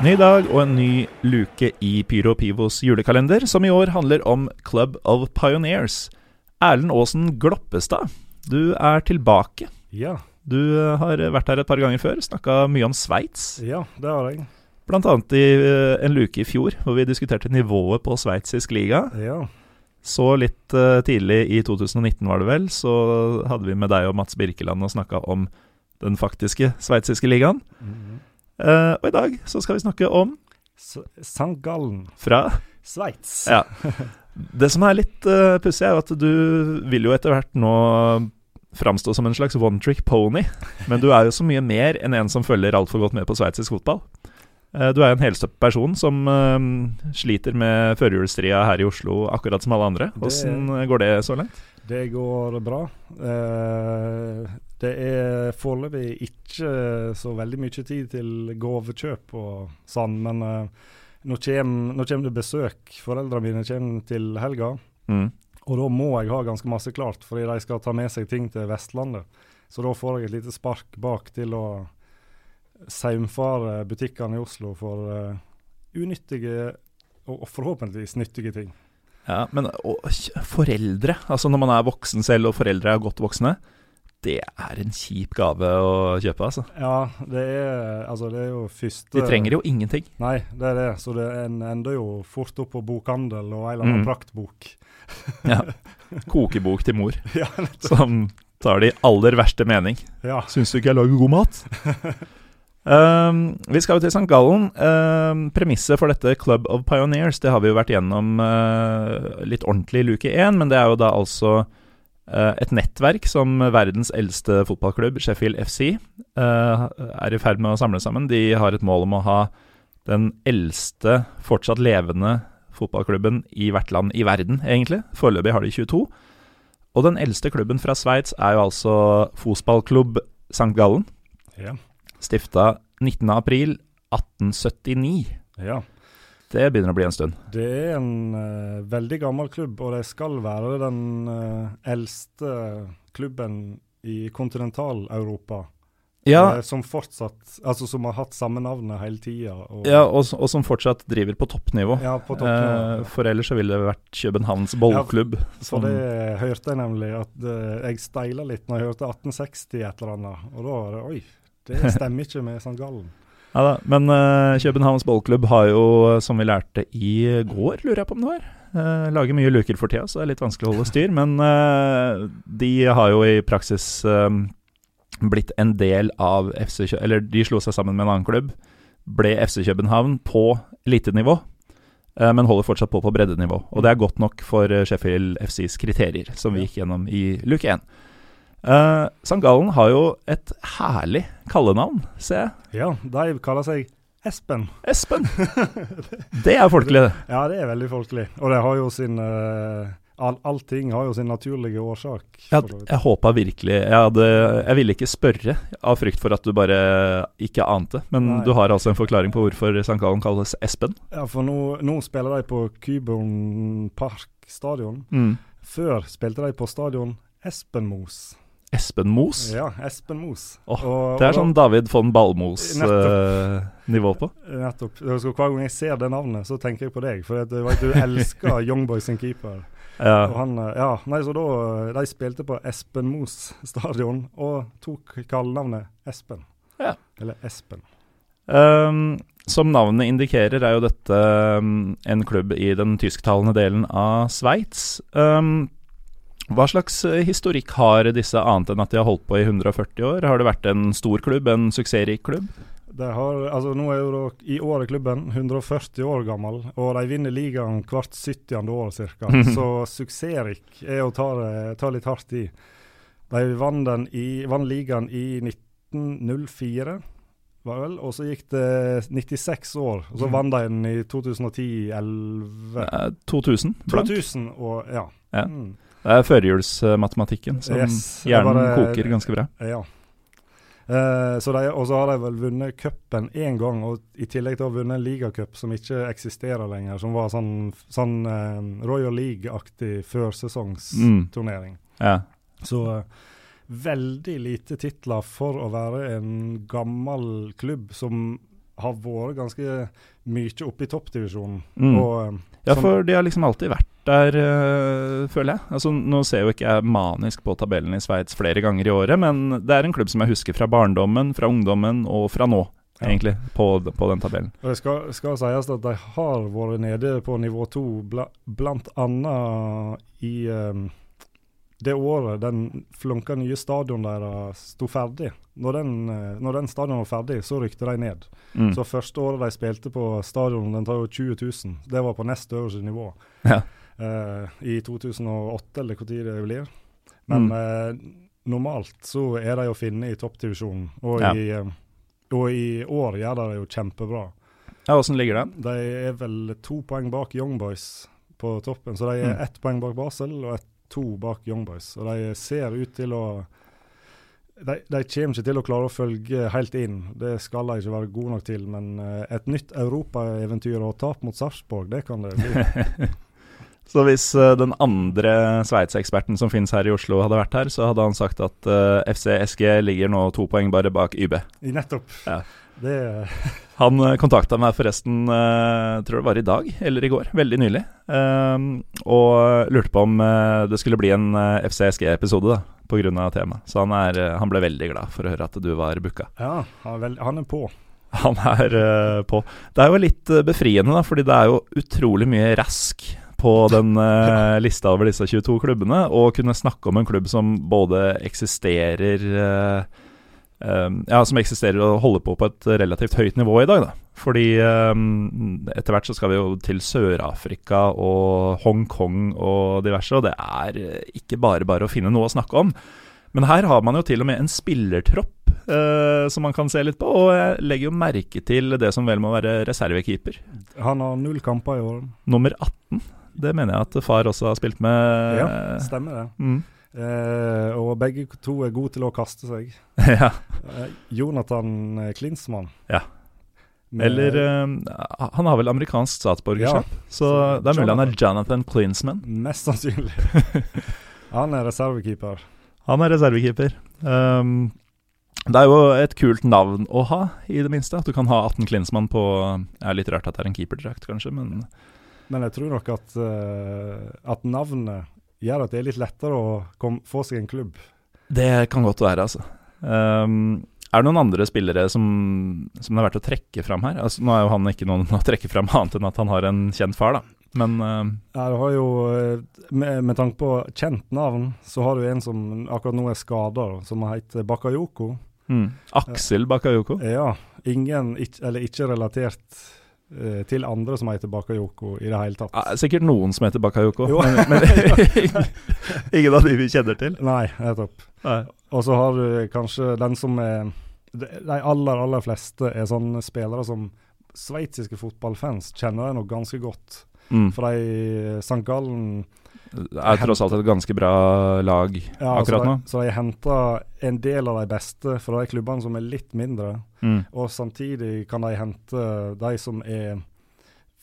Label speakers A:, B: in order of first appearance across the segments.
A: Ny dag og en ny luke i Pyro Pivos julekalender, som i år handler om Club of Pioneers. Erlend Aasen Gloppestad, du er tilbake.
B: Ja,
A: Du eh, har vært her et par ganger før, snakka mye om Sveits.
B: ja, det har jeg.
A: Blant annet i eh, en luke i fjor, hvor vi diskuterte nivået på sveitsisk liga.
B: Ja,
A: Så litt eh, tidlig i 2019 var det vel, så hadde vi med deg og Mats Birkeland og snakka om den faktiske sveitsiske ligaen.
B: Mhm.
A: Eh, og i dag så skal vi snakke om
B: S- St. Gallen,
A: fra
B: Sveits.
A: Ja. Det som er litt eh, pussig, er jo at du vil jo etter hvert nå framstå som en slags one trick pony, men du er jo så mye mer enn en som følger altfor godt med på sveitsisk fotball. Eh, Du er jo en helstøpt person som eh, sliter med førjulstria her i Oslo, akkurat som alle andre.
B: Det-
A: Åssen eh, går det så langt?
B: Det går bra. Eh, det er foreløpig ikke så veldig mye tid til gavekjøp og sånn, men eh, nå kommer nå kjem det besøk. Foreldrene mine kommer til helga,
A: Mm.
B: og da må jeg ha ganske masse klart, fordi de skal ta med seg ting til Vestlandet. Så da får jeg et lite spark bak til å saumfare butikkene i Oslo for eh, unyttige og og forhåpentligvis nyttige ting.
A: Ja, men å, kj- foreldre, altså når man er voksen selv og foreldre er godt voksne, det er en kjip gave å kjøpe, altså.
B: Ja, det er, altså, det er jo første
A: De trenger jo ingenting.
B: Nei, det er det. Så det en ender jo fort opp på bokhandel og en eller annen
A: Mm.
B: praktbok.
A: Ja. Kokebok til mor.
B: ja,
A: som tar det i aller verste mening.
B: ja.
A: Syns du ikke jeg lager god mat? Um, vi skal jo til St. Gallen. Um, premisset for dette Club of Pioneers det har vi jo vært gjennom eh, litt ordentlig i luke én, men det er jo da altså eh, et nettverk som verdens eldste fotballklubb, Sheffield FC, eh, er i ferd med å samle sammen. De har et mål om å ha den eldste fortsatt levende fotballklubben i hvert land i verden, egentlig. Foreløpig har de 22. Og den eldste klubben fra Sveits er jo altså fotballklubb St. Gallen,
B: ja.
A: stifta 19.4.1879.
B: ja.
A: Det begynner å bli en stund.
B: Det er en eh, veldig gammel klubb, og det skal være den eh, eldste klubben i kontinental-Europa. eh, som fortsatt Altså som har hatt samme navnet hele tida. Og,
A: ja og, s- og som fortsatt driver på toppnivå.
B: ja, på
A: Eh, sånn.
B: toppen.
A: for ellers så ville det vært Københavns bollklubb.
B: så
A: som-
B: det hørte jeg nemlig, at eh, jeg steila litt når jeg hørte 1860 et eller annet. Og da var det Oi, det stemmer ikke med sånn St. Gallen.
A: Ja da, men eh, Københavns bollklubb har jo, som vi lærte i går, lurer jeg på om det var eh, Lager mye luker for tida, så det er litt vanskelig å holde styr. Men eh, de har jo i praksis eh, blitt en del av FC Kø- Eller de slo seg sammen med en annen klubb. Ble FC København på elitenivå, eh, men holder fortsatt på på breddenivå. Og det er godt nok for eh, Sheffield FCs kriterier, som vi gikk gjennom i luke én. Eh, St. Gallen har jo et herlig kallenavn, ser jeg.
B: Ja, de kaller seg Espen.
A: Espen! Det er folkelig, det.
B: Ja, det er veldig folkelig. Og det har jo sin eh, all, Allting har jo sin naturlige årsak. for
A: Jeg,
B: så vidt.
A: jeg håpa virkelig jeg, hadde, jeg ville ikke spørre av frykt for at du bare ikke ante, men
B: Nei.
A: du har altså en forklaring på hvorfor St. Gallen kalles Espen.
B: ja, for nå, nå spiller de på Kyburn Park stadion. Før spilte de på stadion Espenmos.
A: Espen Mos.
B: Ja, Espenmos.
A: Åh,
B: Og-
A: Det er
B: og
A: sånn David von
B: Nettopp.
A: Ballmos-nivå på.
B: da- Nettopp. Så hver gang jeg ser det navnet, så tenker jeg på deg. For at du, vet, du elsker Young Boys sin keeper. Og
A: Ja.
B: han, eh, ja, nei, så da, eh, De spilte på Espenmos stadion og tok kallenavnet Espen.
A: Ja.
B: Eller Espen.
A: Ehm, som navnet indikerer, er jo dette ehm, en klubb i den tysktalende delen av Sveits. Ehm, hva slags eh, historikk har disse, annet enn at de har holdt på i 140 år? Har det vært en stor klubb, en suksessrik klubb?
B: De har, altså nå er jo da, I år er klubben 140 år gammel, og de vinner ligaen hvert 70. år ca. Så suksessrik er å ta, det- ta litt hardt i. De vant, den i, vant ligaen i 1904, var det vel, og så gikk det 96 år. Og så
A: Mhm.
B: vant de den i 2010-11
A: Eh, 2000? Blank.
B: 2000 og ja.
A: Ja.
B: Mm,
A: Det er førjulsmatematikken som
B: Yes, jeg
A: hjernen
B: bare-
A: koker ganske bra.
B: ja. Eh, så de, og så har de vel vunnet cupen én gang, og i tillegg til å ha vunnet en ligacup som ikke eksisterer lenger, som var sånn, sånn eh, Royal League-aktig
A: Mm.
B: førsesongsturnering.
A: Ja.
B: Så eh, veldig lite titler for å være en gammel klubb som har vært ganske mye oppe i toppdivisjonen.
A: Mm.
B: Og eh,
A: Ja,
B: som-
A: for de har liksom alltid vært der, øh, føler jeg. Altså, nå ser jo ikke jeg manisk på tabellen i Sveits flere ganger i året, men det er en klubb som jeg husker fra barndommen, fra ungdommen og fra nå,
B: Ja.
A: egentlig, på, d- på den tabellen.
B: Og Det skal, skal sies at de har vært nede på nivå to, bla, blant annet i ehm, det året den flunka nye stadion deres sto ferdig. Når den, eh, når den stadion var ferdig, så rykte de ned.
A: Mm.
B: Så første året de spilte på stadion, den tar jo 20 000. Det var på nest øverste nivå.
A: Ja.
B: Eh, I 2008, eller hvor tid det blir. Men
A: Mm.
B: eh, normalt så er de å finne i toppdivisjonen, og,
A: Ja.
B: i, eh, og i år gjør de det jo kjempebra.
A: Ja, åssen ligger det?
B: De er vel to poeng bak Young Boys på toppen, så de er
A: Mm.
B: ett poeng bak Basel og ett, to bak Young Boys. Og de ser ut til å de, de kommer ikke til å klare å følge helt inn, det skal de ikke være gode nok til. Men eh, et nytt europaeventyr og tap mot Sarpsborg, det kan det bli.
A: Så hvis øh, den andre Sveits-eksperten som finnes her i Oslo hadde vært her, så hadde han sagt at øh, FC SG ligger nå to poeng bare bak YB.
B: I nettopp.
A: Ja.
B: Det,
A: Han eh, kontakta meg forresten, eh, tror det var i dag eller i går, veldig nylig, ehm, og lurte på om eh, det skulle bli en eh, FCSG-episode da, pga. temaet. Så han, er, eh, han ble veldig glad for å høre at du var booka.
B: ja, han er, vel- han er på.
A: Han er eh, på. Det er jo litt eh, befriende, da, fordi det er jo utrolig mye rask på den eh, lista over disse 22 klubbene. Å kunne snakke om en klubb som både eksisterer eh, eh, Ja, som eksisterer og holder på på et relativt høyt nivå i dag, da. Fordi eh, etter hvert så skal vi jo til Sør-Afrika og Hongkong og diverse, og det er eh, ikke bare bare å finne noe å snakke om. Men her har man jo til og med en spillertropp eh, som man kan se litt på. Og jeg legger jo merke til det som vel må være reservekeeper.
B: Han har null kamper i år.
A: Nummer 18. Det mener jeg at far også har spilt med.
B: Stemmer det.
A: Mm.
B: Eh, og begge to er gode til å kaste seg.
A: ja.
B: Eh, Jonathan eh, Klinsmann.
A: Ja.
B: Med-
A: Eller eh, han har vel amerikansk statsborgerskap, så
B: så
A: det er mulig han er Jonathan Klinsman.
B: Mest sannsynlig. Han er reservekeeper.
A: Han er reservekeeper. Um, det er jo et kult navn å ha, i det minste. At du kan ha 18 Klinsmann på Det er litt rart at det er en keeperdrakt, kanskje, men
B: Men jeg tror nok at, eh, at navnet gjør at det er litt lettere å kom, få seg en klubb.
A: Det kan godt være, altså. Ehm, er det noen andre spillere som, som det er verdt å trekke fram her? Altså, nå er jo han ikke noen å trekke fram annet enn at han har en kjent far, da. Men ehm,
B: Jeg har jo, eh, med, med tanke på kjent navn, så har du en som akkurat nå er skada, som heter Bakayoko.
A: mm, Aksel Bakayoko.
B: Ja, ingen, ikk- eller ikke relatert eh, til andre som heter Bakayoko i det hele tatt.
A: Ja, Eh, sikkert noen som heter Bakayoko,
B: Jo.
A: men, men ingen av de vi kjenner til.
B: Nei, nettopp.
A: Nei.
B: Og så har du kanskje den som er De de aller, aller fleste er sånne spillere som sveitsiske fotballfans kjenner de nok ganske godt.
A: Mm.
B: For de St. Gallen
A: Det er tross alt et ganske bra lag
B: ja,
A: akkurat nå.
B: Så de, så de henter en del av de beste fra de klubbene som er litt mindre.
A: Mm.
B: Og samtidig kan de hente de som er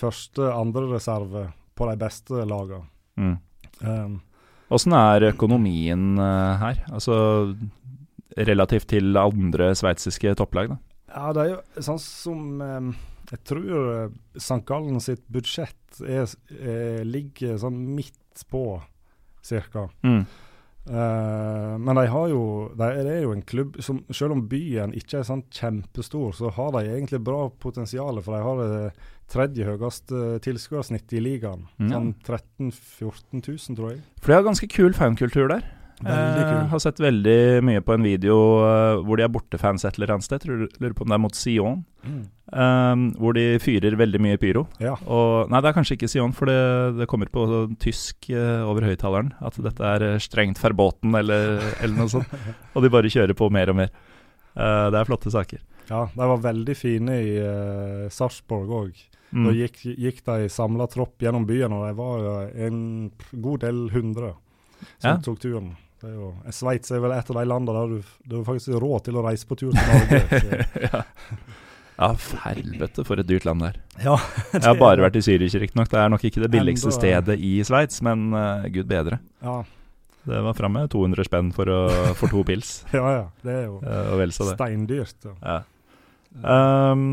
B: første, andre reserve på de beste lagene.
A: Mm.
B: Um,
A: Åssen er økonomien eh, her? Altså relativt til andre sveitsiske topplag, da.
B: Ja, det er jo sånn som eh, Jeg tror eh, St. Gallen sitt budsjett er, eh, ligger sånn midt på, cirka.
A: Mm.
B: Eh, men de har jo de, Det er jo en klubb som Selv om byen ikke er sånn kjempestor, så har de egentlig bra potensial, for de har det tredje høyeste tilskuersnittet i ligaen.
A: Ja.
B: Sånn 13 000-14 000, tror jeg.
A: For de har ganske kul fankultur der.
B: Veldig
A: Jeg
B: kul.
A: Eh, har sett veldig mye på en video eh, hvor de er bortefans et eller annet sted. Tror, lurer på om det er mot Sion.
B: Mm.
A: eh, hvor de fyrer veldig mye pyro.
B: Ja.
A: Og, nei, det er kanskje ikke Sion, for det, det kommer på tysk eh, over høyttaleren at dette er eh, strengt verboten eller, eller noe sånt. Og de bare kjører på mer og mer. Eh, det er flotte saker.
B: ja. De var veldig fine i eh, Sarpsborg òg.
A: Mm.
B: Da gikk, gikk de samla tropp gjennom byen, og de var jo en god del hundre som
A: Ja.
B: tok turen. Det er jo, Sveits er vel et av de landene der du, du har faktisk råd til å reise på tur til Norge. så-
A: ja. ja, for helvete for et dyrt land det er.
B: Ja,
A: Jeg har bare vært i Zürich, riktignok. Det er nok ikke det billigste
B: Enda-
A: stedet i Sveits, men eh, gud bedre.
B: ja,
A: Det var framme 200 spenn for, å, for to pils,
B: ja, ja. Det er jo
A: eh, og vel så det.
B: steindyrt. Ja.
A: Ja. Um,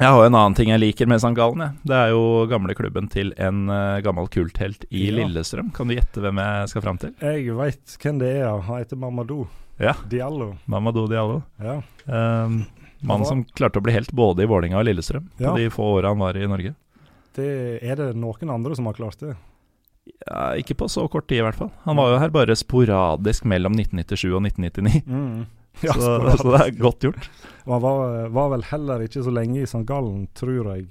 A: Jeg har jo en annen ting jeg liker med St. Gallen. Jeg. Det er jo gamleklubben til en eh, gammel kulthelt i
B: Ja.
A: Lillestrøm. Kan du gjette hvem jeg skal fram til?
B: Jeg veit hvem det er. Han heter Mamadou
A: Ja.
B: Diallo.
A: Mamadou Diallo.
B: Ja.
A: Um, Mannen
B: Hva?
A: som klarte å bli helt både i Vålinga og Lillestrøm
B: Ja.
A: på de få åra han var i Norge.
B: Det, er det noen andre som har klart det?
A: Ja, ikke på så kort tid, i hvert fall. Han var jo her bare sporadisk mellom 1997 og 1999.
B: Mm. Ja,
A: så,
B: sporadisk.
A: så det er godt gjort.
B: Og han var, var vel heller ikke så lenge i St. Gallen, tror jeg.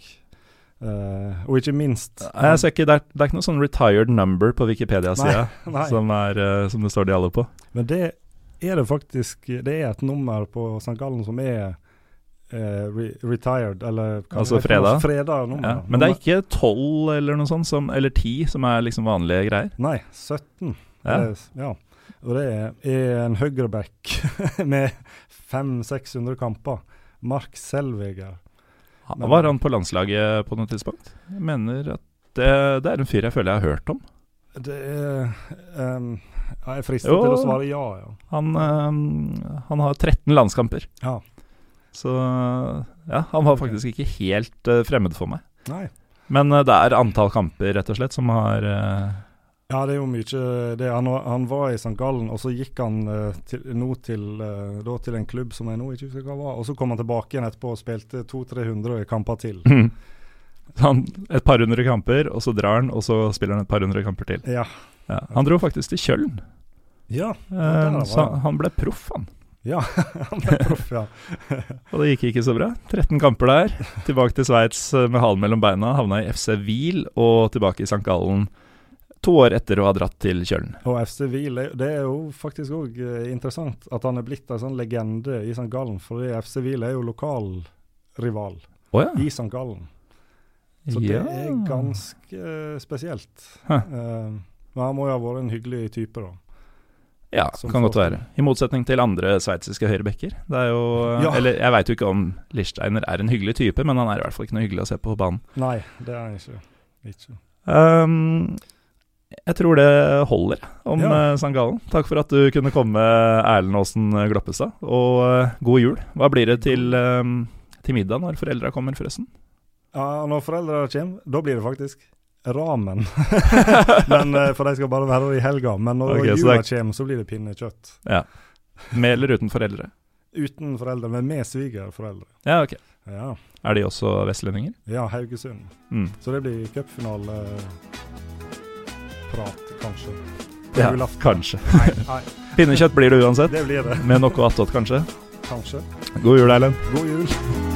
B: Eh, og ikke minst
A: Jeg ser ikke, det, er, det er ikke noe sånn retired number på Wikipedia-sida
B: Nei,
A: som, er, eh, som det står Diallo på.
B: Men det er det faktisk Det er et nummer på St. Gallen som er eh, re retired, eller hva
A: Altså
B: heter det?
A: fredag?
B: fredag nummer.
A: Ja. Men det er ikke tolv eller noe sånt, som, eller ti, som er liksom vanlige greier.
B: Nei, 17.
A: Ja.
B: Det er- ja. Og det er- er en høyreback med 500-600 kamper. Mark Selveger. Men-
A: Var han på landslaget på noe tidspunkt? Jeg mener at det, det er en fyr jeg føler jeg har hørt om.
B: Det er ehm, Jeg er fristet
A: Jo.
B: til å svare ja, ja.
A: Han, eh, han har 13 landskamper.
B: Ja.
A: Så ja, han var faktisk ikke helt eh, fremmed for meg.
B: Nei.
A: Men eh, det er antall kamper, rett og slett, som har eh,
B: Ja, det er jo mye det. Han, var- han var i St. Gallen, og så gikk han eh, til, nå til, eh, da til en klubb som jeg nå ikke husker hva var, og så kom han tilbake igjen etterpå og spilte 200-300 kamper til.
A: han, et par hundre kamper, og så drar han, og så spiller han et par hundre kamper til.
B: Ja.
A: Ja, han dro faktisk til Kjøln,
B: Ja,
A: eh,
B: der var
A: så
B: han.
A: han ble proff, han.
B: han ble proff, ja.
A: Og det gikk ikke så bra. 13 kamper der, tilbake til Sveits eh, med halen mellom beina, havna i FC Wiel og tilbake i St. Gallen to år etter å ha dratt til Kjøln.
B: Og FC Wiel, det- det er jo faktisk òg eh, interessant at han er blitt en sånn legende i St. Gallen, fordi FC Wiel er jo lokalrival
A: Å
B: i St. Gallen. Så det er ganske eh, spesielt.
A: Hæ.
B: Eh, men han må jo ha vært en hyggelig type, da.
A: Ja,
B: Som
A: kan godt
B: forstår.
A: være. I motsetning til andre sveitsiske høyrebacker. Det er jo
B: Ja.
A: Eller jeg veit jo ikke om Lichsteiner er en hyggelig type, men han er i hvert fall ikke noe hyggelig å se på på banen.
B: Nei, det er han ikke. ikke.
A: Ehm, jeg tror det holder om
B: Ja.
A: ja. St. Gallen. Takk for at du kunne komme, Erlend Aasen Gloppestad. Og eh, god jul. Hva blir det til, ehm, til middag når foreldra kommer, forresten?
B: Ja, når foreldrene kommer, da blir det faktisk ramen. men, eh, for de skal bare være der i helga. Men når
A: Ok, så
B: jula
A: det
B: kommer, så blir det pinnekjøtt.
A: Med eller uten foreldre?
B: Uten foreldre, men med svigerforeldre.
A: Ja, ok.
B: Ja.
A: Er de også vestlendinger?
B: ja, Haugesund.
A: Mm.
B: Så det blir cupfinaleprat, kanskje. På
A: Ja,
B: julaften.
A: kanskje.
B: Nei, nei,
A: Pinnekjøtt blir det uansett.
B: det blir det.
A: Med noe attåt, kanskje.
B: Kanskje.
A: God jul, Erlend.
B: God jul.